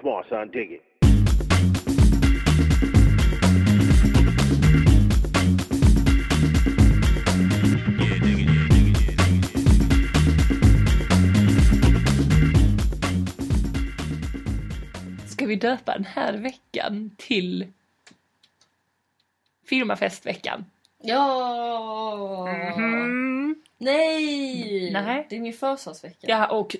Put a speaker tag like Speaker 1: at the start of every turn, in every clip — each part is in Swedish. Speaker 1: Come on, son, dig it.
Speaker 2: Ska vi döpa den här veckan till firmafestveckan?
Speaker 3: Ja! Mm. Nej!
Speaker 2: Mhm. Nej.
Speaker 3: Det är min födelsedagsvecka.
Speaker 2: Ja, och...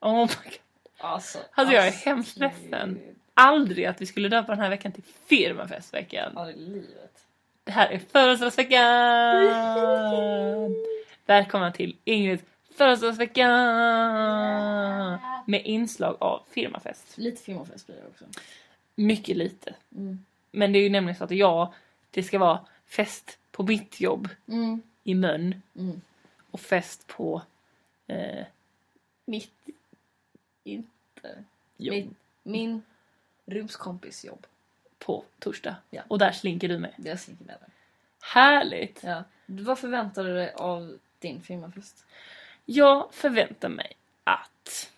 Speaker 2: Oh my God.
Speaker 3: Alltså,
Speaker 2: Alltså, jag är hemskt ledsen. Aldrig att vi skulle döpa den här veckan till firmafestveckan.
Speaker 3: Ja, det är livet.
Speaker 2: Det här är födelsedagsveckan! Välkomna till Ingrids födelsedagsvecka! Med inslag av firmafest.
Speaker 3: Lite firmafest blir det också.
Speaker 2: Mycket lite.
Speaker 3: Mm.
Speaker 2: Men det är ju nämligen så att jag, det ska vara fest på mitt jobb
Speaker 3: Mm.
Speaker 2: i Mön
Speaker 3: Mm.
Speaker 2: och fest på eh,
Speaker 3: Mitt... Inte.
Speaker 2: jobb
Speaker 3: Mitt, min rumskompis jobb.
Speaker 2: på torsdag.
Speaker 3: Ja.
Speaker 2: Och där slinker du med.
Speaker 3: Det är snickermännen.
Speaker 2: Härligt!
Speaker 3: Ja. Vad förväntar du dig av din firmafest?
Speaker 2: Jag förväntar mig att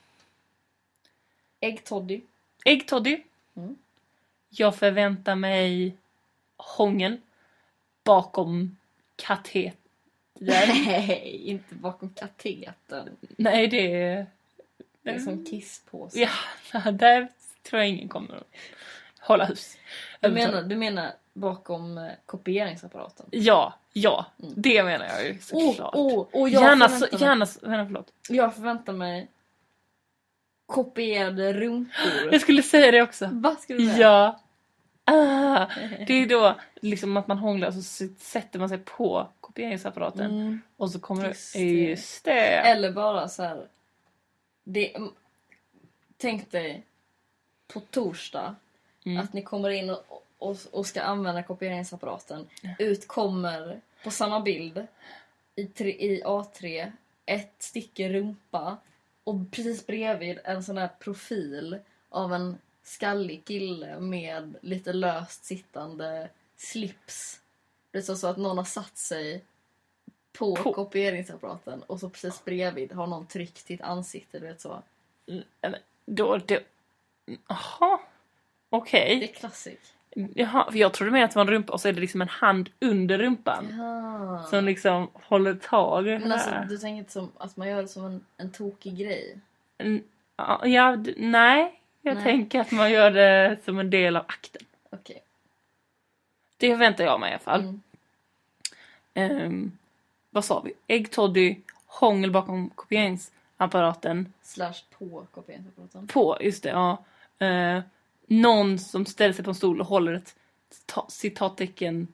Speaker 3: Äggtoddy.
Speaker 2: äggtoddy.
Speaker 3: Mm.
Speaker 2: Jag förväntar mig hången bakom katetern.
Speaker 3: Nej, inte bakom katetern.
Speaker 2: Nej, det är...
Speaker 3: Det är som kisspåse.
Speaker 2: Mm. Ja, där tror jag ingen kommer att hålla hus.
Speaker 3: Du, menar, du menar bakom eh, kopieringsapparaten?
Speaker 2: Ja, ja.
Speaker 3: Mm.
Speaker 2: Det menar jag ju såklart.
Speaker 3: oh, oh, jag,
Speaker 2: gärna, så,
Speaker 3: förväntar mig,
Speaker 2: gärna, så- vänta, förlåt.
Speaker 3: jag förväntar mig kopierade rumpor.
Speaker 2: Jag skulle säga det också.
Speaker 3: Vad ska du säga?
Speaker 2: Ja. Ah, det är då liksom att man hånglar och så s- sätter man sig på kopieringsapparaten.
Speaker 3: Mm.
Speaker 2: Och så kommer
Speaker 3: Just
Speaker 2: det...
Speaker 3: det.
Speaker 2: Just det.
Speaker 3: Eller bara så här. Det, mm, tänk dig på torsdag
Speaker 2: Mm.
Speaker 3: att ni kommer in och, och, och ska använda kopieringsapparaten. Ut kommer på samma bild i, tre, i A3 ett stycke rumpa och precis bredvid en sån här profil av en skallig kille med lite löst sittande slips. Det är så- så att någon har satt sig på,
Speaker 2: På.
Speaker 3: kopieringsapparaten och så precis bredvid har någon tryckt sitt ansikte. Du vet så.
Speaker 2: Då, då... Jaha. Okej.
Speaker 3: Det är klassik.
Speaker 2: Jaha, för jag trodde mer att det var en rumpa och så är det liksom en hand under rumpan.
Speaker 3: Ja.
Speaker 2: Som liksom håller tag i det
Speaker 3: Men alltså,
Speaker 2: där.
Speaker 3: du tänker inte som att man gör det som en, en tokig grej?
Speaker 2: N- ja, Ja, d- nej. Jag
Speaker 3: Nej.
Speaker 2: tänker att man gör det som en del av akten.
Speaker 3: Okej.
Speaker 2: Det väntar jag mig i alla fall.
Speaker 3: Mm.
Speaker 2: Ehm, vad sa vi? Äggtoddy, hångel bakom kopieringsapparaten.
Speaker 3: Slash på kopieringsapparaten.
Speaker 2: På, just det, ja. Eh, någon som ställer sig på en stol och håller ett cita- citattecken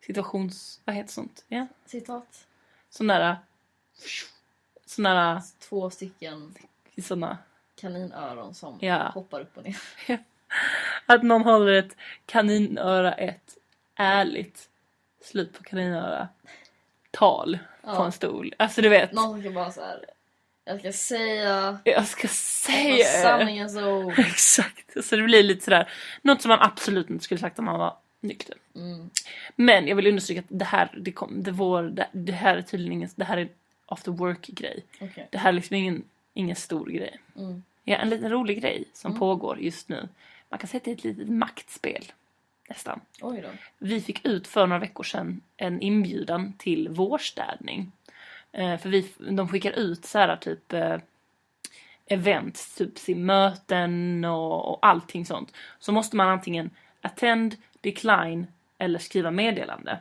Speaker 2: situations... Vad heter sånt? Ja.
Speaker 3: Citat.
Speaker 2: Sån där... Sån där...
Speaker 3: Två stycken
Speaker 2: Såna.
Speaker 3: kaninöron som
Speaker 2: Ja.
Speaker 3: hoppar upp och ner.
Speaker 2: Att någon håller ett kaninöra, ett ärligt slut på kaninöra tal på
Speaker 3: Ja.
Speaker 2: en stol. Alltså du vet,
Speaker 3: Någon som kan bara så här. Jag ska säga
Speaker 2: jag ska
Speaker 3: vad
Speaker 2: säga...
Speaker 3: sanningens ord.
Speaker 2: Exakt. Så det blir lite sådär, något som man absolut inte skulle sagt om man var nykter.
Speaker 3: Mm.
Speaker 2: Men jag vill understryka att det här, det, kom, det, vår, det, det här är tydligen ingen, det här är en after work grej.
Speaker 3: Okej.
Speaker 2: Det här är liksom ingen, ingen stor grej.
Speaker 3: Mm.
Speaker 2: Ja, en liten rolig grej som
Speaker 3: Mm.
Speaker 2: pågår just nu. Man kan säga att det är ett litet maktspel. Nästan.
Speaker 3: Oj då.
Speaker 2: Vi fick ut för några veckor sedan en inbjudan till vårstädning. Eh, för vi, de skickar ut så här typ eh, events, typ sin möten och, och allting sånt. Så måste man antingen attend, decline eller skriva meddelande.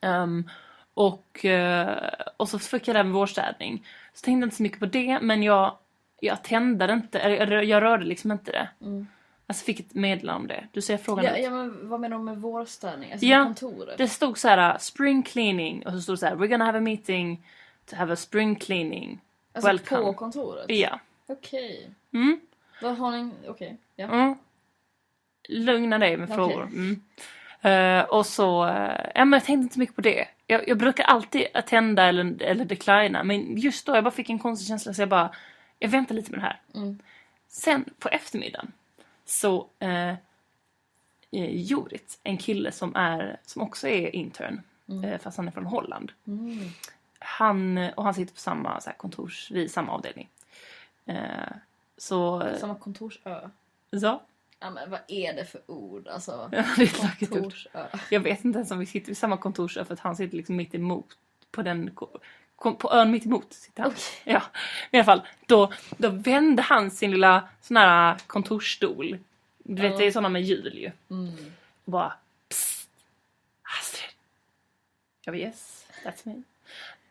Speaker 2: Ehm, och, eh, och så fick jag den vårstädning. Så tänkte jag inte så mycket på det men jag, jag tändade inte, eller jag, jag rörde liksom inte det.
Speaker 3: Mm.
Speaker 2: Alltså fick ett meddelande om det. Du ser frågan
Speaker 3: Ja,
Speaker 2: ut.
Speaker 3: ja, men vad menar de med vårstädning? Alltså
Speaker 2: Ja.
Speaker 3: på kontoret?
Speaker 2: Det stod så här spring cleaning och så stod det så här we're gonna have a meeting to have a spring cleaning.
Speaker 3: alltså
Speaker 2: welcome.
Speaker 3: på kontoret?
Speaker 2: Ja.
Speaker 3: Okej.
Speaker 2: Mm.
Speaker 3: Vad har ni? Okej. Ja.
Speaker 2: Mm. Lugna dig med
Speaker 3: Okej.
Speaker 2: frågor. Mm. Eh, och så, eh, ja men jag tänkte inte så mycket på det. Jag, jag brukar alltid attenda eller, eller declina men just då jag bara fick en konstig känsla så jag bara, jag väntar lite med det här.
Speaker 3: Mm.
Speaker 2: Sen på eftermiddagen så eh, eh, Jorit, en kille som, är, som också är intern,
Speaker 3: Mm.
Speaker 2: eh, fast han är från Holland.
Speaker 3: Mm.
Speaker 2: han, och han sitter på samma så här, kontors, vid samma avdelning. Eh, Så,
Speaker 3: Samma kontorsö.
Speaker 2: ja.
Speaker 3: Ja, men vad är det för ord? Alltså,
Speaker 2: Det är ett vackert ord.
Speaker 3: kontorsö.
Speaker 2: Jag vet inte ens om vi sitter vid samma kontorsö för att han sitter liksom mitt emot på den ko- kom- på ön mitt emot sitter han.
Speaker 3: Okej.
Speaker 2: Ja, i alla fall. Då, då vände han sin lilla sån här kontorsstol. Du vet,
Speaker 3: Ja.
Speaker 2: det är såna med hjul ju.
Speaker 3: Mm.
Speaker 2: Och bara psst, Astrid. Jag bara yes, that's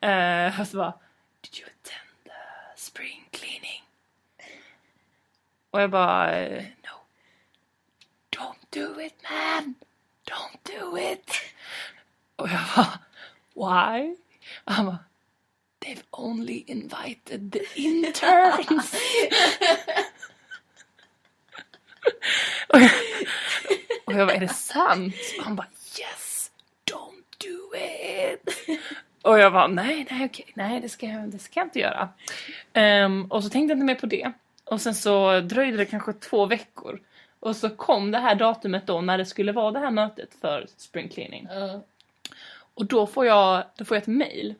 Speaker 2: me. Eh, och så bara, did you attend the spring cleaning? Och jag bara, eh, no. Don't do it man! Don't do it! Och jag bara, why? Och han bara, they've only invited the interns! och, jag, och jag bara, är det sant? Och han bara, yes! Don't do it! Och jag bara, nej, nej, okej, nej, det ska, jag, det ska jag inte göra. Ehm, och så tänkte jag inte mer på det. Och sen så dröjde det kanske två veckor. Och så kom det här datumet då när det skulle vara det här mötet för spring cleaning.
Speaker 3: Ja.
Speaker 2: Och då får jag, då får jag ett mail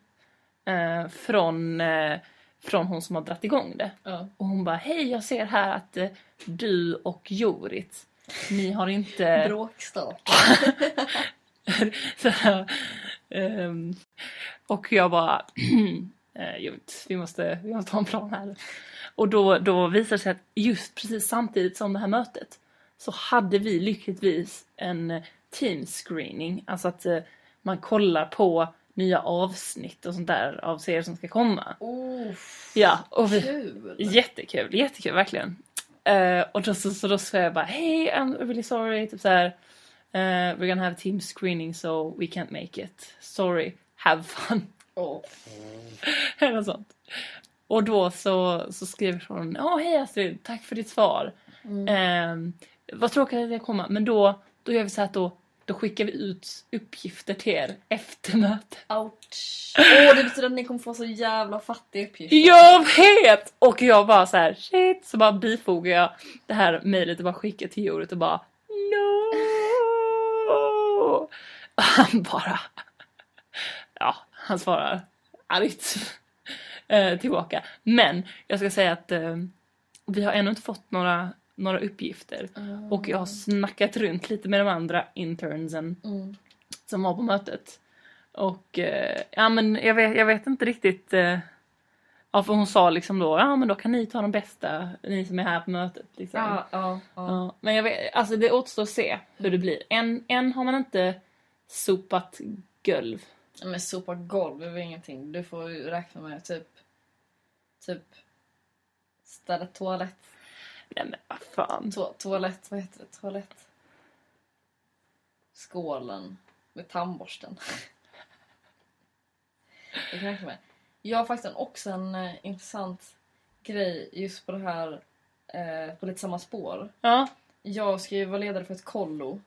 Speaker 2: eh, från, eh, från hon som har dratt igång det.
Speaker 3: Ja.
Speaker 2: Och hon bara, hej jag ser här att eh, du och Jorit, ni har inte...
Speaker 3: Bråkstart.
Speaker 2: så här, ehm, och jag bara, eh, jag vet, vi, måste, vi måste ha en plan här. Och då, då visar det sig att just precis samtidigt som det här mötet så hade vi lyckligtvis en eh, team screening, alltså att eh, man kollar på nya avsnitt och sånt där av serier som ska komma.
Speaker 3: Oh,
Speaker 2: Ja, och vi,
Speaker 3: kul!
Speaker 2: Jättekul, jättekul verkligen. Eh, och då, så, så då sa jag bara Hey I'm really sorry, typ såhär eh, We're gonna have a team screening so we can't make it. Sorry, have fun.
Speaker 3: Åh.
Speaker 2: Eller något sånt. Och då så, så skrev hon Åh hej Astrid, tack för ditt svar.
Speaker 3: Mm.
Speaker 2: Eh, vad tråkigt att jag kommer. Men då, då gör vi så här att då, då skickar vi ut uppgifter till er efter mötet.
Speaker 3: Ouch. Åh, det betyder att ni kommer få så jävla fattig uppgift.
Speaker 2: Jag vet! Och jag bara så här, shit, så bara bifogar jag det här mejlet och bara skickar till Jorit och bara no. Och han bara, ja, han svarar argt eh, tillbaka. Men jag ska säga att eh, vi har ännu inte fått några, några uppgifter
Speaker 3: Mm.
Speaker 2: och jag har snackat runt lite med de andra internsen
Speaker 3: Mm.
Speaker 2: som var på mötet. Och eh, ja men jag vet, jag vet inte riktigt. Eh, ja för hon sa liksom då, ja men då kan ni ta de bästa, ni som är här på mötet. Liksom.
Speaker 3: Ja, ja, ja.
Speaker 2: Ja, men jag vet, alltså det återstår att se hur det blir. Än, än har man inte sopat golv.
Speaker 3: Men sopa golv är väl ingenting. Du får ju räkna med typ... Typ... Städa toalett.
Speaker 2: Nej men vad fan.
Speaker 3: To- toalett, vad heter det? Toalett. Skålen med tandborsten. Det kan jag räkna med. Jag har faktiskt en- också en eh, intressant grej just på det här, eh, på lite samma spår.
Speaker 2: Ja,
Speaker 3: Jag ska ju vara ledare för ett kollo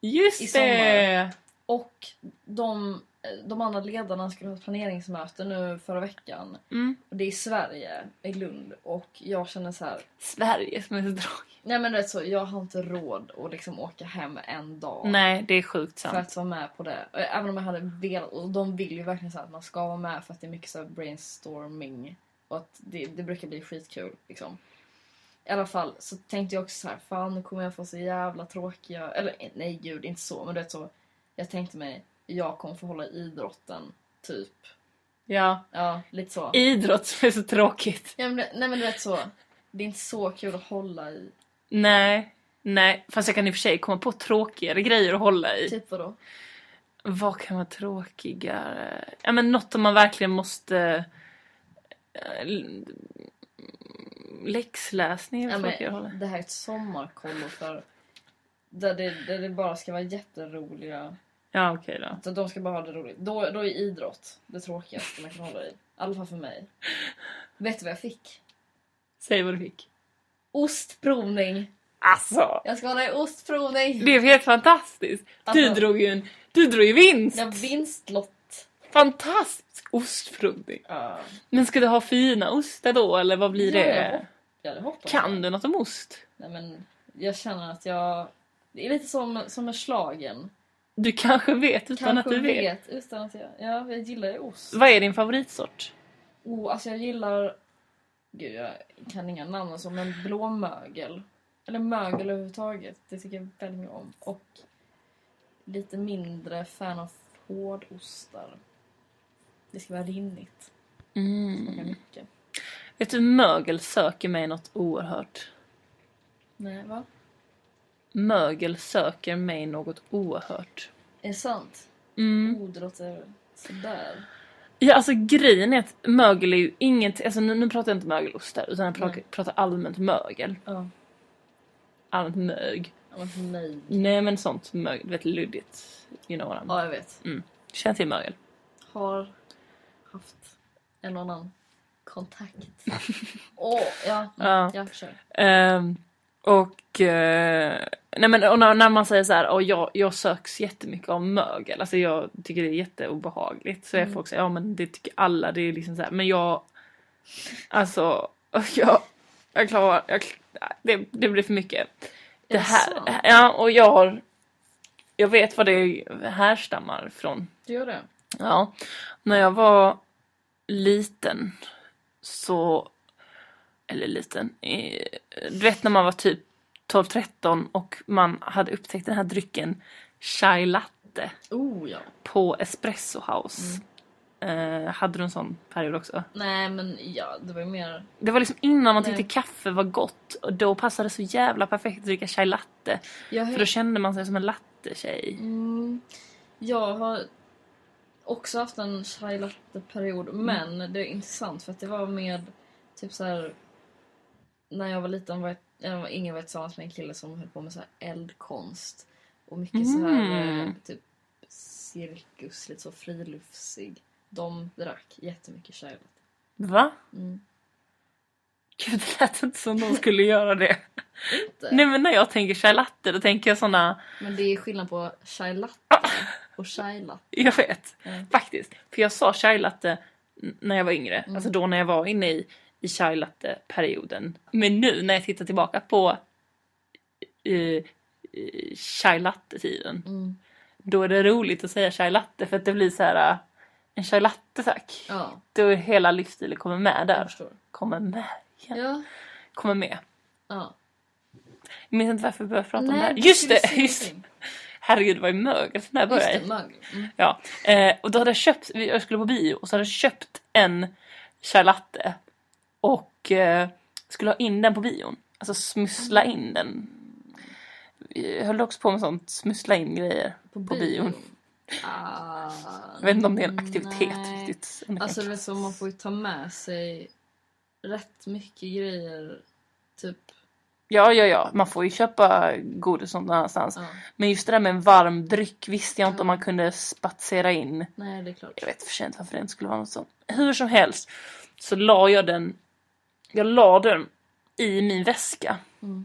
Speaker 3: I
Speaker 2: just
Speaker 3: sommar.
Speaker 2: det!
Speaker 3: och de, eh, de andra ledarna skulle ha ett planeringsmöte nu förra veckan.
Speaker 2: Mm.
Speaker 3: Och det är i Sverige, i Lund. Och jag känner så här,
Speaker 2: Sverige som är så drag.
Speaker 3: nej men rätt så, jag har inte råd att liksom åka hem en dag.
Speaker 2: Nej, det är sjukt
Speaker 3: För
Speaker 2: sant.
Speaker 3: att vara med på det. Och Även om jag hade velat. Och de vill ju verkligen så här att man ska vara med för att det är mycket så här brainstorming. Och att det, det brukar bli skitkul liksom. I alla fall så tänkte jag också så här, fan nu kommer jag få så jävla tråkiga... Eller nej gud, inte så. Men du vet så. Jag tänkte mig, jag kommer få hålla i idrotten. Typ.
Speaker 2: Ja.
Speaker 3: Ja, lite så.
Speaker 2: Idrott som är så tråkigt.
Speaker 3: Ja, men, det- nej men du vet så. Det är inte så kul att hålla i.
Speaker 2: Nej. Nej, fast jag kan i och för sig komma på tråkigare grejer att hålla i.
Speaker 3: Typ vadå?
Speaker 2: Vad kan vara tråkigare? Ja men något som man verkligen måste... eh, l- Läxläsning är
Speaker 3: Ja,
Speaker 2: väl tråkigare att hålla.
Speaker 3: men, det här är ett sommarkollo för... Där det, där det bara ska vara jätteroliga...
Speaker 2: Ja okej då.
Speaker 3: Så de ska bara ha det roligt. Då, då är idrott det tråkigaste man kan hålla i. I alla fall för mig. Vet du vad jag fick?
Speaker 2: Säg vad du fick.
Speaker 3: Ostprovning!
Speaker 2: Alltså!
Speaker 3: Jag ska hålla i ostprovning!
Speaker 2: Det är helt fantastiskt! Du
Speaker 3: Alltså-
Speaker 2: drog ju en... Du drog ju vinst!
Speaker 3: Jag har vinstlott.
Speaker 2: Fantastisk ostprovning!
Speaker 3: Ja.
Speaker 2: Men ska du ha fina ostar då eller vad blir
Speaker 3: Ja, jag
Speaker 2: det?
Speaker 3: hopp- Jag hade hoppats.
Speaker 2: Kan du något om ost?
Speaker 3: Nej, men jag känner att jag... Det är lite som, som med schlagern.
Speaker 2: Du kanske vet utan
Speaker 3: Kanske
Speaker 2: att du vet.
Speaker 3: Utan att jag... Ja, jag gillar ju ost.
Speaker 2: Vad är din favoritsort?
Speaker 3: Oh, alltså jag gillar Gud, jag kan inga namn och så, men blåmögel. Eller mögel överhuvudtaget. Det tycker jag väldigt mycket om. Och lite mindre fan av hårdostar. Det ska vara rinnigt. Smaka
Speaker 2: Mm.
Speaker 3: mycket.
Speaker 2: Vet du, mögel söker mig något oerhört.
Speaker 3: Nej, va?
Speaker 2: Mögel söker mig något oerhört.
Speaker 3: Är det sant?
Speaker 2: Mm.
Speaker 3: Oh, det låter sådär.
Speaker 2: Ja, alltså grejen är att mögel är ju inget... Alltså nu, nu pratar jag inte mögelost där, utan jag pratar,
Speaker 3: Nej.
Speaker 2: pratar allmänt mögel.
Speaker 3: Ja.
Speaker 2: Allmänt mög.
Speaker 3: Ja, men för mig.
Speaker 2: Nej men sånt mögel, du vet luddigt. You know what I mean.
Speaker 3: Ja, jag vet.
Speaker 2: Känn till mögel.
Speaker 3: Har haft en annan kontakt. Åh, ja.
Speaker 2: Ja.
Speaker 3: Jag kör.
Speaker 2: Ehm, och... eh, nej men och när, när man säger så här, "Åh, jag, jag söks jättemycket av mögel. Alltså jag tycker det är jätteobehagligt. Så är
Speaker 3: Mm.
Speaker 2: folk säger, ja men det tycker alla. Det är liksom så här, men jag... Alltså, jag... Jag klarar... Jag, det, det blir för mycket. Det
Speaker 3: Är sant?
Speaker 2: här, ja, och jag har... Jag vet vad det härstammar från.
Speaker 3: Du gör det?
Speaker 2: Ja, när jag var liten så... Eller liten. eh, Du vet när man var typ 12-13 och man hade upptäckt den här drycken chai latte
Speaker 3: Oh, ja.
Speaker 2: på Espresso House. Eh, hade du en sån period också?
Speaker 3: Nej, men ja, det var ju mer...
Speaker 2: Det var liksom innan man tyckte
Speaker 3: Nej.
Speaker 2: kaffe var gott och då passade det så jävla perfekt att dricka chai latte.
Speaker 3: Jag
Speaker 2: För då kände man sig som en latte-tjej.
Speaker 3: Mm, jag har också haft en chai latte-period,
Speaker 2: Mm.
Speaker 3: men det är intressant för att det var med typ så här när jag var liten var jag, jag var ingen var tillsammans med en kille som höll på med så här eldkonst och mycket så här eh,
Speaker 2: Mm.
Speaker 3: typ cirkus, lite så friluftsig. De drack jättemycket chai latte.
Speaker 2: Va?
Speaker 3: Mm.
Speaker 2: Gud, det lät inte som någon skulle göra det.
Speaker 3: Inte.
Speaker 2: Nej men när jag tänker chai latte då tänker jag såna,
Speaker 3: Men det är skillnad på chai latte och chai latte.
Speaker 2: jag vet
Speaker 3: Mm.
Speaker 2: faktiskt. För jag sa chai latte n- när jag var yngre,
Speaker 3: Mm.
Speaker 2: alltså då när jag var inne i, i chai latte perioden. Men nu när jag tittar tillbaka på eh, eh, chai latte tiden,
Speaker 3: Mm.
Speaker 2: då är det roligt att säga chai latte för att det blir så här eh, en chai latte tack.
Speaker 3: Ja,
Speaker 2: Då är hela livsstilen kommer med
Speaker 3: jag
Speaker 2: där.
Speaker 3: förstår.
Speaker 2: Kommer med,
Speaker 3: Ja,
Speaker 2: kommer med.
Speaker 3: ja.
Speaker 2: Jag minns inte varför vi började prata om det här.
Speaker 3: du
Speaker 2: Just
Speaker 3: skulle
Speaker 2: det!
Speaker 3: säga
Speaker 2: Just,
Speaker 3: någonting.
Speaker 2: herregud, det var ju mögel som det här
Speaker 3: Just
Speaker 2: började.
Speaker 3: det, mögel. Mm.
Speaker 2: Ja, eh, och då hade jag köpt, vi- jag skulle på bio och så hade jag köpt en chai latte och eh, skulle ha in den på bion. Alltså smussla
Speaker 3: Mm.
Speaker 2: in den. Jag höll också på med sånt, smussla in grejer. På bion.
Speaker 3: Ah,
Speaker 2: Jag vet inte om det är en aktivitet
Speaker 3: Mm, nej.
Speaker 2: riktigt. om det kan
Speaker 3: Alltså det är
Speaker 2: kallas.
Speaker 3: så man får ju ta med sig rätt mycket grejer. Typ.
Speaker 2: Ja, ja, ja. Man får ju köpa godis någon annanstans.
Speaker 3: Ja.
Speaker 2: Men just det där med en varm dryck visste jag inte om
Speaker 3: Ja.
Speaker 2: man kunde spatsera in.
Speaker 3: Nej, det är klart.
Speaker 2: Jag vet för sent varför det inte skulle vara något sånt. Hur som helst så la jag den, jag la den i min väska.
Speaker 3: Mm.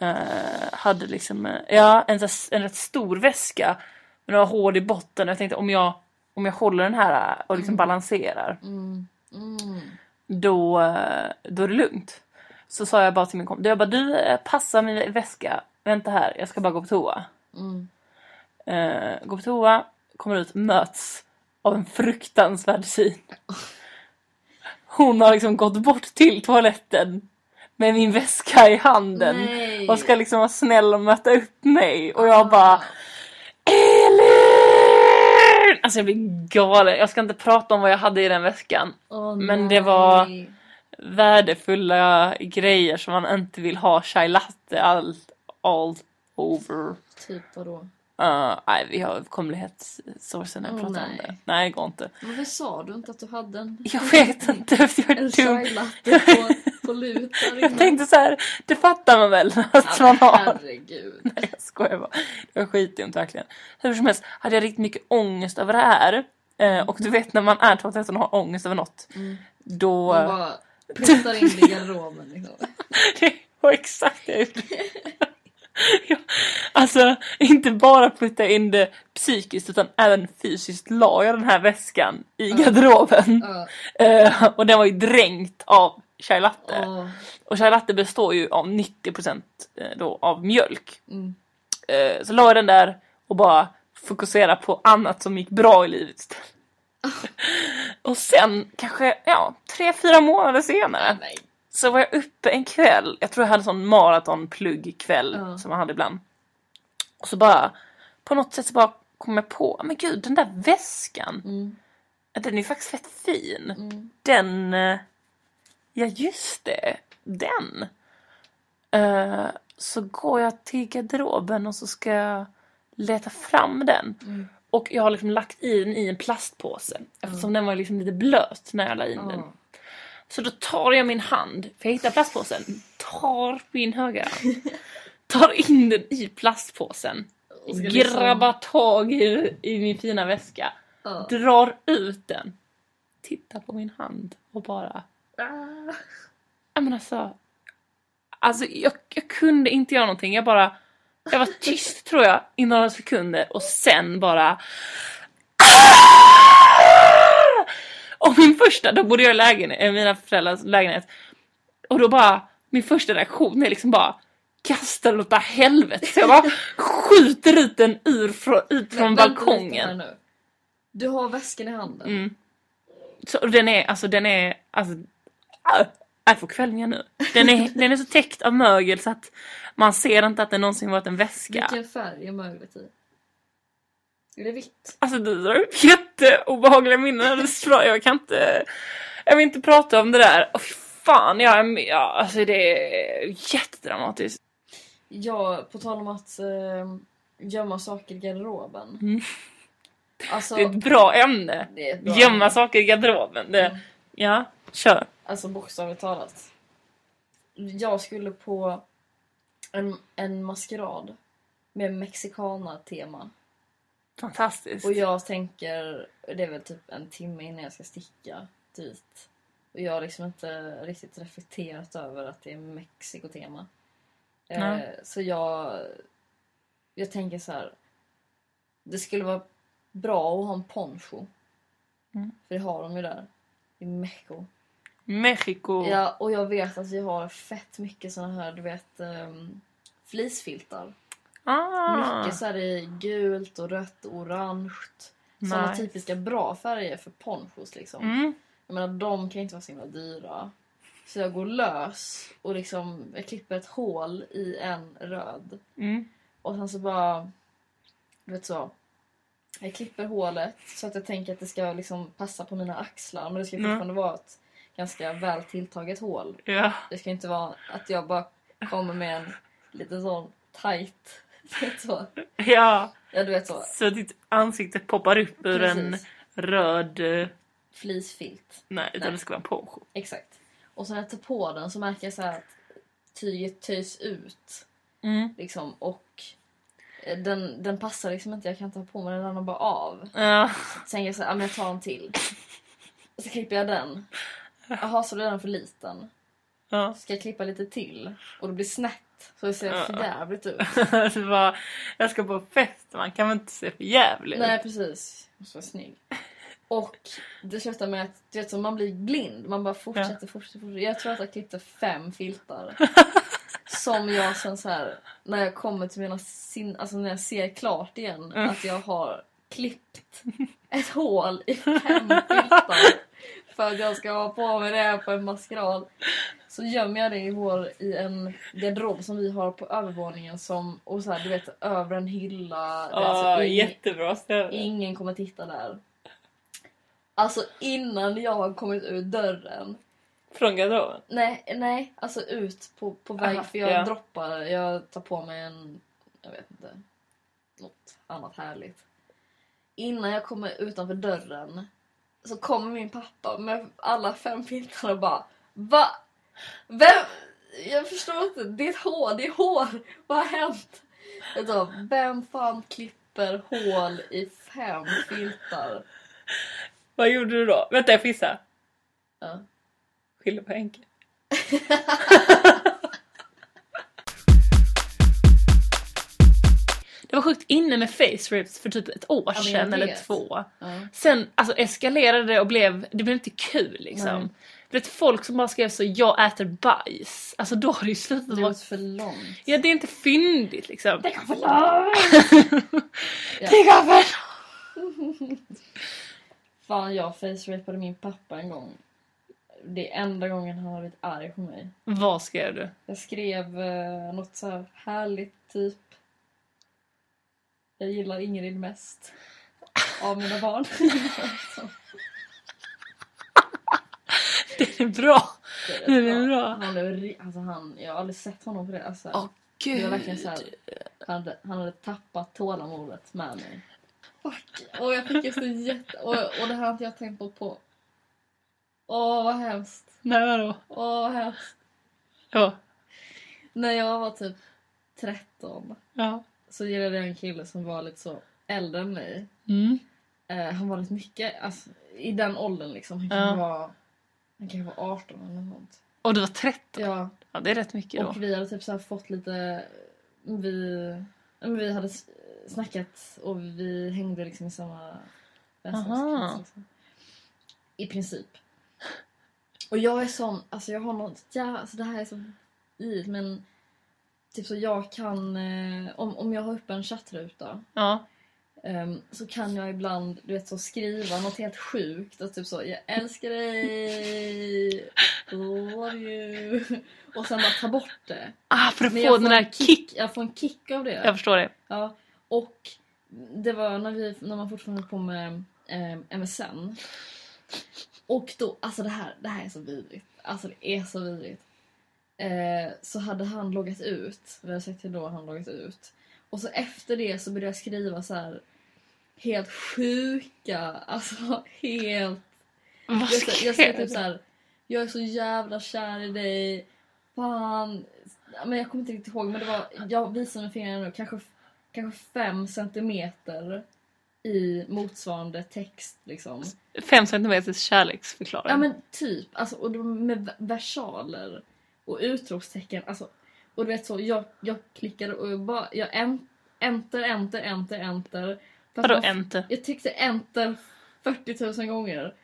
Speaker 2: Eh, hade liksom, eh, ja en, sån här- en rätt stor väska. Men den var hård i botten och jag tänkte om jag, om jag håller den här eh, och liksom balanserar
Speaker 3: Mm. Mm.
Speaker 2: då, eh, då är det lugnt. Så sa jag bara till min kompis, jag bara du eh, passa min väska, vänta här jag ska bara gå på toa.
Speaker 3: Mm.
Speaker 2: Eh, går på toa, kommer ut, möts av en fruktansvärd syn. Hon har liksom gått bort till toaletten med min väska i handen
Speaker 3: Nej.
Speaker 2: och ska liksom vara snäll och möta upp mig och jag
Speaker 3: Ah.
Speaker 2: bara Elin! Alltså jag blir galen. Jag ska inte prata om vad jag hade i den väskan.
Speaker 3: Åh,
Speaker 2: men det var-
Speaker 3: nej.
Speaker 2: Värdefulla grejer som man inte vill ha. Chai latte all, all over.
Speaker 3: Typ vadå?
Speaker 2: Uh, nej, vi har komlighetssourcen när vi
Speaker 3: Åh,
Speaker 2: pratar om
Speaker 3: nej.
Speaker 2: det. Nej, det går inte.
Speaker 3: Varför sa du inte att du hade en,
Speaker 2: Jag vet inte, jag är dum.
Speaker 3: en chai latte på, på lut där
Speaker 2: Jag tänkte så här, det fattar man väl att man har.
Speaker 3: Herregud.
Speaker 2: Nej, Jag skojar bara. Det var skitdumt verkligen. Hur som helst hade jag riktigt mycket ångest över det här. Eh, och du vet när man är 2013 och har ångest över något.
Speaker 3: Mm.
Speaker 2: Då...
Speaker 3: Hon bara puttar in det i garderoben liksom.
Speaker 2: Det var exakt det jag gjorde. Ja, Alltså inte bara putta in det psykiskt utan även fysiskt la jag den här väskan i garderoben.
Speaker 3: Ja.
Speaker 2: Eh, och den var ju dränkt av chai latte.
Speaker 3: Åh.
Speaker 2: Och chai latte består ju av 90% eh, då av mjölk.
Speaker 3: Mm.
Speaker 2: Eh, så la jag den där och bara fokusera på annat som gick bra i livet istället. Och sen kanske, ja, tre, fyra månader senare
Speaker 3: Nej.
Speaker 2: så var jag uppe en kväll. Jag tror jag hade sån maratonpluggkväll
Speaker 3: Ja.
Speaker 2: som man hade ibland. Och så bara, på något sätt så bara kom jag på, "Ah, men gud den där väskan,
Speaker 3: Mm,
Speaker 2: den är ju faktiskt fett fin.
Speaker 3: mm.
Speaker 2: Den... eh, Ja, just det. Den. Eh, så går jag till garderoben och så ska jag leta fram den.
Speaker 3: Mm.
Speaker 2: Och jag har liksom lagt i den i en plastpåse. Eftersom den var liksom lite blöt när jag la in den.
Speaker 3: Ja.
Speaker 2: Så då tar jag min hand, för jag hittar plastpåsen, tar min högra hand, tar in den i plastpåsen,
Speaker 3: Och ska liksom-
Speaker 2: grabbar tag i, i min fina väska,
Speaker 3: liksom- Ja.
Speaker 2: drar ut den, tittar på min hand och bara...
Speaker 3: Ah.
Speaker 2: Jag men alltså, alltså jag, jag kunde inte göra någonting. Jag bara... Jag var tyst tror jag i några sekunder och sen bara... "Ah!" Och min första, då bodde jag i lägenhet, i mina föräldrars lägenhet. Och då bara, min första reaktion är liksom bara kasta den åt helvete. Så jag bara skjuter ut den ur, frå- ut från
Speaker 3: Vänta lite
Speaker 2: balkongen.
Speaker 3: här nu. Du har väskan i handen.
Speaker 2: Mm. Så och den är, alltså den är, alltså... ah, Jag får kvällningar nu. Den är, den är så täckt av mögel så att man ser inte att det någonsin varit en väska.
Speaker 3: Vilken färg är möglet i? Är det vitt?
Speaker 2: Alltså du drar upp jätteobehagliga minnen. Det slår- Jag kan inte, jag vill inte prata om det där. Oh, fan, jag är med. Ja, alltså det är jättedramatiskt.
Speaker 3: Ja, på tal om att eh, gömma saker i garderoben.
Speaker 2: Mm.
Speaker 3: Alltså,
Speaker 2: Det är ett bra ämne.
Speaker 3: det är ett bra
Speaker 2: Gömma saker i garderoben. Det,
Speaker 3: Mm.
Speaker 2: ja, kör.
Speaker 3: Alltså bokstavligt talat. Jag skulle på en, en maskerad med mexikana-tema.
Speaker 2: Fantastiskt.
Speaker 3: Och jag tänker, det är väl typ en timme innan jag ska sticka dit. Och jag har liksom inte riktigt reflekterat över att det är Mexiko-tema. Eh,
Speaker 2: Nej.
Speaker 3: så jag, jag tänker så här. Det skulle vara bra att ha en poncho.
Speaker 2: Mm.
Speaker 3: För det har de ju där. I Mexiko.
Speaker 2: Mexiko.
Speaker 3: Ja, och jag vet att vi har fett mycket såna här, du vet, um, fleecefiltar.
Speaker 2: Ah,
Speaker 3: Mycket så här i gult och rött och orange. Såna
Speaker 2: nice.
Speaker 3: typiska bra färger för ponchos liksom.
Speaker 2: Mm.
Speaker 3: Jag menar de kan ju inte vara så himla dyra. Så jag går lös och liksom jag klipper ett hål i en röd.
Speaker 2: Mm.
Speaker 3: Och sen så bara, du vet så. Jag klipper hålet så att jag tänker att det ska liksom passa på mina axlar men det ska
Speaker 2: Mm.
Speaker 3: fortfarande vara ett ganska väl tilltaget hål.
Speaker 2: Ja.
Speaker 3: Det ska inte vara att jag bara kommer med en lite sån tight... du vet så.
Speaker 2: Ja,
Speaker 3: Ja, du vet så.
Speaker 2: så ditt ansikte poppar upp ur en
Speaker 3: Precis.
Speaker 2: röd... eh,
Speaker 3: Fleecefilt.
Speaker 2: Nej, utan
Speaker 3: Nej.
Speaker 2: det ska vara en poncho.
Speaker 3: Exakt. Och sen när jag tar på den så märker jag så här att tyget töjs ut. Liksom, och eh, den, den passar liksom inte. Jag kan inte ha på mig den. Den ramlar bara av.
Speaker 2: Ja.
Speaker 3: Sen jag så här, ja, men jag tar en till. Och så klipper jag den. Jaha, så då är den för liten.
Speaker 2: ja.
Speaker 3: Ska jag klippa lite till? Och det blir snett. Så det ser
Speaker 2: Ja.
Speaker 3: förjävligt ut.
Speaker 2: det var, jag ska på fest, man kan väl inte se för jävligt
Speaker 3: Nej precis, Jag måste vara snygg. Och det slutar med att du vet, så man blir blind, man bara fortsätter, fortsätter, fortsätter. Jag tror att jag klippte fem filtar. som jag sen så här, när jag kommer till mina sin, alltså när jag ser klart igen,
Speaker 2: Mm.
Speaker 3: att jag har klippt ett hål i fem filtar. För att jag ska ha på mig det här på en maskerad. Så gömmer jag det i hår i en garderob som vi har på övervåningen som, och så här, du vet över en hylla. Det är alltså
Speaker 2: Ah,
Speaker 3: ing-
Speaker 2: jättebra ställe.
Speaker 3: Ingen kommer titta där. Alltså innan jag har kommit ur dörren.
Speaker 2: Från garderoben.
Speaker 3: Nej, nej, alltså ut på, på väg
Speaker 2: Aha,
Speaker 3: för jag
Speaker 2: ja.
Speaker 3: droppar, jag tar på mig en, jag vet inte, något annat härligt. Innan jag kommer utanför dörren så kommer min pappa med alla fem filtar och bara Va? Vem? Jag förstår inte, det är ett hår, det är hår, vad har hänt? Jag sa, vem fan klipper hål i fem filtar?
Speaker 2: Vad gjorde du då? Vänta, jag får gissa.
Speaker 3: Ja.
Speaker 2: Skyller på Henke. det var sjukt inne med face rips för typ ett år
Speaker 3: men jag
Speaker 2: sedan eller
Speaker 3: vet.
Speaker 2: två.
Speaker 3: Ja.
Speaker 2: Sen alltså, eskalerade det och blev, det blev inte kul liksom.
Speaker 3: Nej.
Speaker 2: Du vet folk som bara skrev så jag äter bajs. Alltså då har det ju slutat
Speaker 3: Det
Speaker 2: vara...
Speaker 3: låter för långt.
Speaker 2: Ja det är inte fyndigt liksom.
Speaker 3: Det går för långt!
Speaker 2: Det går för
Speaker 3: Fan, jag facerapade min pappa en gång. Det är enda gången han har blivit arg på mig.
Speaker 2: Vad skrev du?
Speaker 3: Jag skrev eh, något så här härligt, typ... Jag gillar Ingrid mest av mina barn.
Speaker 2: Det är bra!
Speaker 3: Det
Speaker 2: Det är
Speaker 3: rätt
Speaker 2: bra.
Speaker 3: Han blev ri- alltså han, jag har aldrig sett honom på det. Alltså,
Speaker 2: Åh
Speaker 3: det var
Speaker 2: gud!
Speaker 3: verkligen så här, han, hade, han hade tappat tålamodet med mig. Fuck. Och jag fick ju så jätte... Och, och det här har inte jag tänkt på på... Åh, vad hemskt.
Speaker 2: Nej vadå?
Speaker 3: Åh, vad hemskt.
Speaker 2: Ja.
Speaker 3: När jag var typ 13
Speaker 2: ja.
Speaker 3: så gillade jag en kille som var lite så äldre än mig.
Speaker 2: Mm.
Speaker 3: Eh, han var lite mycket, alltså, i den åldern liksom. Han
Speaker 2: Ja.
Speaker 3: kan vara... Han kan vara 18 eller något sånt.
Speaker 2: Och du var 13?
Speaker 3: Ja.
Speaker 2: Ja, det är rätt mycket då.
Speaker 3: Och vi hade typ så här fått lite... Vi, ja, men vi hade s- snackat och vi hängde liksom i samma
Speaker 2: Aha.
Speaker 3: vänskapskrets. Liksom. I princip. Och jag är sån, alltså jag har något, ja, alltså det här är så givet men typ så jag kan, eh, om, om jag har uppe en chattruta
Speaker 2: Ja.
Speaker 3: Ehm, så kan jag ibland du vet, så skriva något helt sjukt. Och typ så, jag älskar dig, love you. Och sen bara ta bort det.
Speaker 2: Ah, för att
Speaker 3: Men
Speaker 2: få
Speaker 3: jag typ-
Speaker 2: den
Speaker 3: får
Speaker 2: där
Speaker 3: en
Speaker 2: kick.
Speaker 3: Jag får en kick av det.
Speaker 2: Jag förstår det.
Speaker 3: Ja. Och det var när, vi, när man fortfarande höll på med ehm, MSN. Och då, alltså det här, det här är så vidrigt. Alltså det är så vidrigt. Eh, så hade han loggat ut. Vi hade sagt till då han loggat ut. Och så efter det så började jag skriva så här helt sjuka, alltså helt
Speaker 2: Vad
Speaker 3: jag, skrev- jag skrev
Speaker 2: skrev du?
Speaker 3: typ såhär, jag är så jävla kär i dig. Fan. Men jag kommer inte riktigt ihåg men det var, jag visar med fingrarna nu, kanske, kanske fem centimeter i motsvarande text liksom.
Speaker 2: Fem centimeters kärleksförklaring.
Speaker 3: Ja men typ, alltså, och det var med v- versaler och utropstecken. Alltså, och du vet så, jag, jag klickade och jag bara, jag en, enter, enter, enter, enter. För att
Speaker 2: Vadå
Speaker 3: man-
Speaker 2: enter?
Speaker 3: jag tyckte enter 40 000 gånger.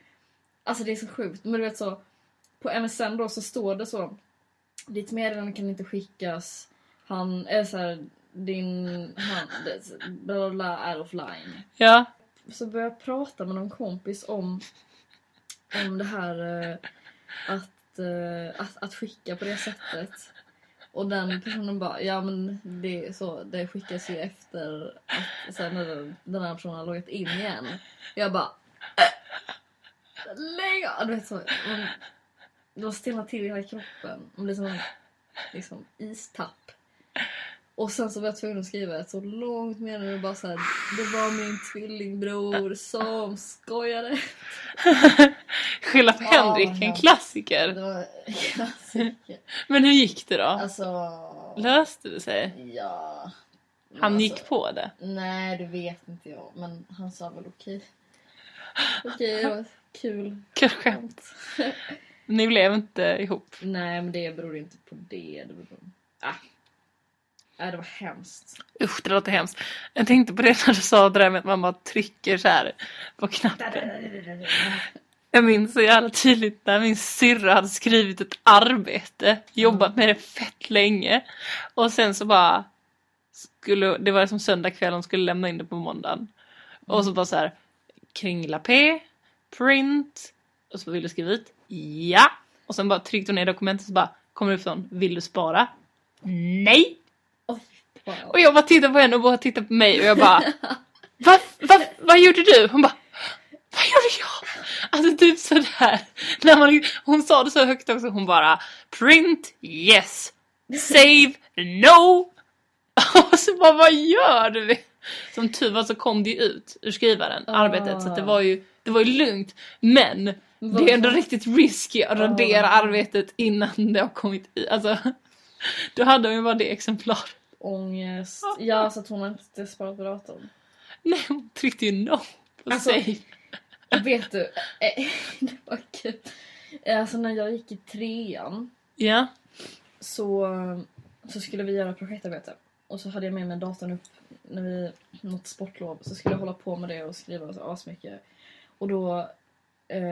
Speaker 3: Alltså det är så sjukt. Men du vet så, på MSN då så står det så. Ditt meddelande kan inte skickas. Han, är så här, din, han, det- bla bla bla är offline.
Speaker 2: Ja.
Speaker 3: Så började jag prata med någon kompis om, om det här eh, att, eh, att, att skicka på det sättet. Och den personen bara, ja men det, är så, det skickas ju efter att sen när den- den här personen har loggat in igen. Jag bara... "Äh, Lägg av! Du vet så. Man, de stelnar till i hela kroppen. Man blir som en liksom, istapp. Och sen så var jag tvungen att skriva ett så långt meddelande bara så här. Det var min tvillingbror som skojade.
Speaker 2: Skylla på
Speaker 3: Ja,
Speaker 2: Henrik, en
Speaker 3: ja.
Speaker 2: klassiker.
Speaker 3: Det var klassiker.
Speaker 2: Men hur gick det då?
Speaker 3: Alltså...
Speaker 2: Löste det sig?
Speaker 3: Ja. Men
Speaker 2: Han
Speaker 3: alltså-
Speaker 2: gick på det?
Speaker 3: Nej, det vet inte jag. Men han sa väl okej. Okej, det var kul.
Speaker 2: Kanske. Ni blev inte ihop?
Speaker 3: Nej, men det beror inte på det. Det beror på... Ah. Nej, det var hemskt.
Speaker 2: Usch, det låter hemskt. Jag tänkte på det när du sa det där med att man bara trycker så här på knappen. Jag minns så jävla tydligt när min syrra hade skrivit ett arbete, jobbat med det fett länge. Och sen så bara, skulle, det var som söndag kväll, hon skulle lämna in det på måndagen. Och så bara så här, kringla P, print, och så vill du skriva ut, ja. Och sen bara tryckte hon ner dokumentet och så bara, kommer det upp sån, vill du spara? Nej!
Speaker 3: Oj,
Speaker 2: Och
Speaker 3: wow.
Speaker 2: jag bara tittade på henne och bara tittade på mig och jag bara va, va, Vad gjorde du? Hon bara Vad gjorde jag? Alltså typ sådär. När man, hon sa det så högt också. Hon bara Print yes Save no Och så bara vad gör du? Som tur var så kom det ju ut ur skrivaren,
Speaker 3: Ah.
Speaker 2: arbetet. Så att det var ju det var ju lugnt. Men det är ändå riktigt risky att radera
Speaker 3: Ah.
Speaker 2: arbetet innan det har kommit ut. Alltså, då hade hon ju bara det exemplar.
Speaker 3: Ångest.
Speaker 2: Ah.
Speaker 3: Ja, så att hon har inte sparat på datorn.
Speaker 2: Nej, hon tryckte ju no på
Speaker 3: Alltså-
Speaker 2: save.
Speaker 3: Vet du? eh, det var kul. Eh, Alltså när jag gick i trean
Speaker 2: Ja.
Speaker 3: så, så skulle vi göra projektarbete. Och så hade jag med mig datorn upp när vi något sportlov. Så skulle jag hålla på med det och skriva så asmycket. Och då eh,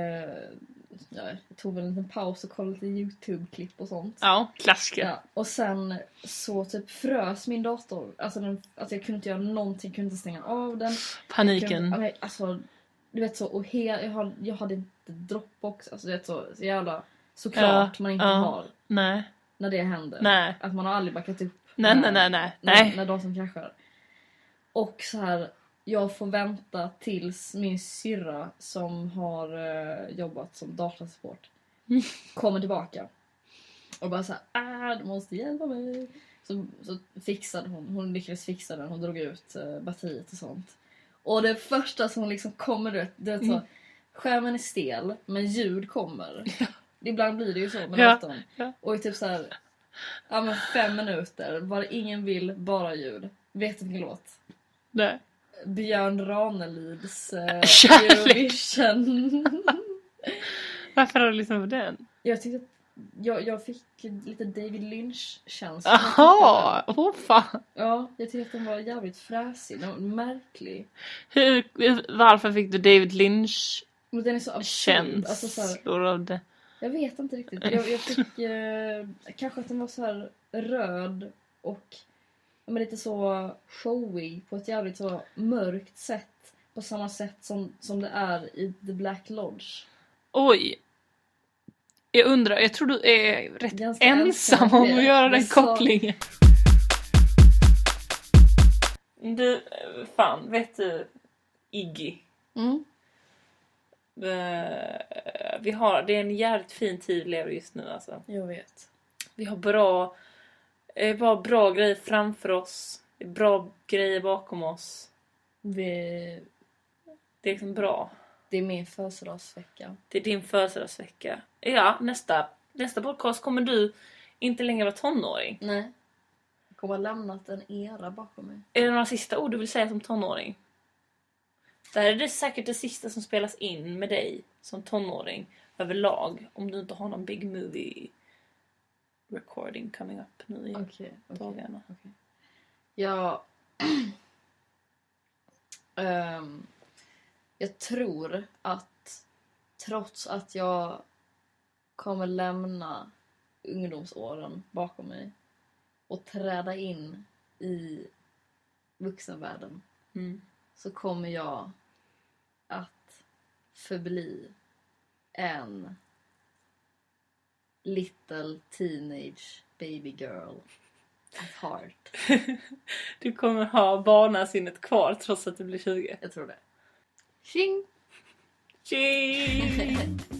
Speaker 3: ja, jag tog väl en liten paus och kollade lite YouTube-klipp och sånt.
Speaker 2: Ja, klassiker.
Speaker 3: Ja, och sen så typ frös min dator. Alltså, den, alltså jag kunde inte göra någonting, kunde inte stänga av den.
Speaker 2: Paniken.
Speaker 3: Jag, alltså, Du vet så, och hel, jag, har, jag hade inte dropbox. Alltså du vet så, så jävla... Såklart man inte
Speaker 2: ja.
Speaker 3: har
Speaker 2: Nej.
Speaker 3: när det händer.
Speaker 2: Nej.
Speaker 3: Att man har aldrig backat upp.
Speaker 2: Nej, nej,
Speaker 3: när-
Speaker 2: nej, nej.
Speaker 3: När,
Speaker 2: nej.
Speaker 3: när de som kraschar. Och så här, jag får vänta tills min syrra som har eh, jobbat som datasupport
Speaker 2: Mm.
Speaker 3: kommer tillbaka. Och bara så här, ah, du måste hjälpa mig. Så, så fixade hon, hon lyckades fixa den, hon drog ut eh, batteriet och sånt. Och det första som liksom kommer, du vet, det är så,
Speaker 2: Mm.
Speaker 3: skärmen är stel men ljud kommer. Ibland blir det ju så med
Speaker 2: Ja,
Speaker 3: datorn.
Speaker 2: ja.
Speaker 3: Och i typ så här, ja, men fem minuter, bara ingen vill, bara ljud. Vet du vilken låt?
Speaker 2: nej.
Speaker 3: Björn Ranelids eh,
Speaker 2: Kärlek.
Speaker 3: Eurovision.
Speaker 2: Varför har du lyssnat på den?
Speaker 3: jag tyckte att jag, jag fick lite David Lynch-känsla.
Speaker 2: Jaha! Åh fan!
Speaker 3: Ja, jag tyckte att den var jävligt fräsig, den var märklig.
Speaker 2: Hur, varför fick du David Lynch-känslor
Speaker 3: Men den är så absurd. Alltså, så här,
Speaker 2: av det?
Speaker 3: jag vet inte riktigt. Jag, jag fick eh, kanske att den var så här röd och ja, men lite så showig på ett jävligt så mörkt sätt. På samma sätt som, som det är i The Black Lodge.
Speaker 2: Oj! Jag undrar, jag tror du är rätt
Speaker 3: Ganska
Speaker 2: ensam om
Speaker 3: det.
Speaker 2: att göra
Speaker 3: Men
Speaker 2: den
Speaker 3: så-
Speaker 2: kopplingen. Du, eh, fan, vet du Iggy?
Speaker 3: Mm.
Speaker 2: Eh, Vi har, det är en jävligt fin tid vi lever just nu alltså.
Speaker 3: Jag vet.
Speaker 2: Vi har bra, eh, bara bra grejer framför oss. Det är Bra grejer bakom oss.
Speaker 3: Vi,
Speaker 2: Det är liksom bra.
Speaker 3: det är min födelsedagsvecka.
Speaker 2: Det är din födelsedagsvecka. Ja, nästa, nästa podcast kommer du inte längre vara tonåring.
Speaker 3: Nej. Jag kommer ha lämnat en era bakom mig.
Speaker 2: Är det några sista ord du vill säga som tonåring? Det här är det säkert det sista som spelas in med dig som tonåring överlag. Om du inte har någon big movie recording coming up nu i
Speaker 3: Okej.
Speaker 2: dagarna.
Speaker 3: Jag... Ehm, jag tror att trots att jag kommer lämna ungdomsåren bakom mig och träda in i vuxenvärlden
Speaker 2: Mm.
Speaker 3: så kommer jag att förbli en little teenage baby girl at heart.
Speaker 2: Du kommer ha barnasinnet kvar trots att du blir 20.
Speaker 3: Jag tror det. Tjing!
Speaker 2: Tjing!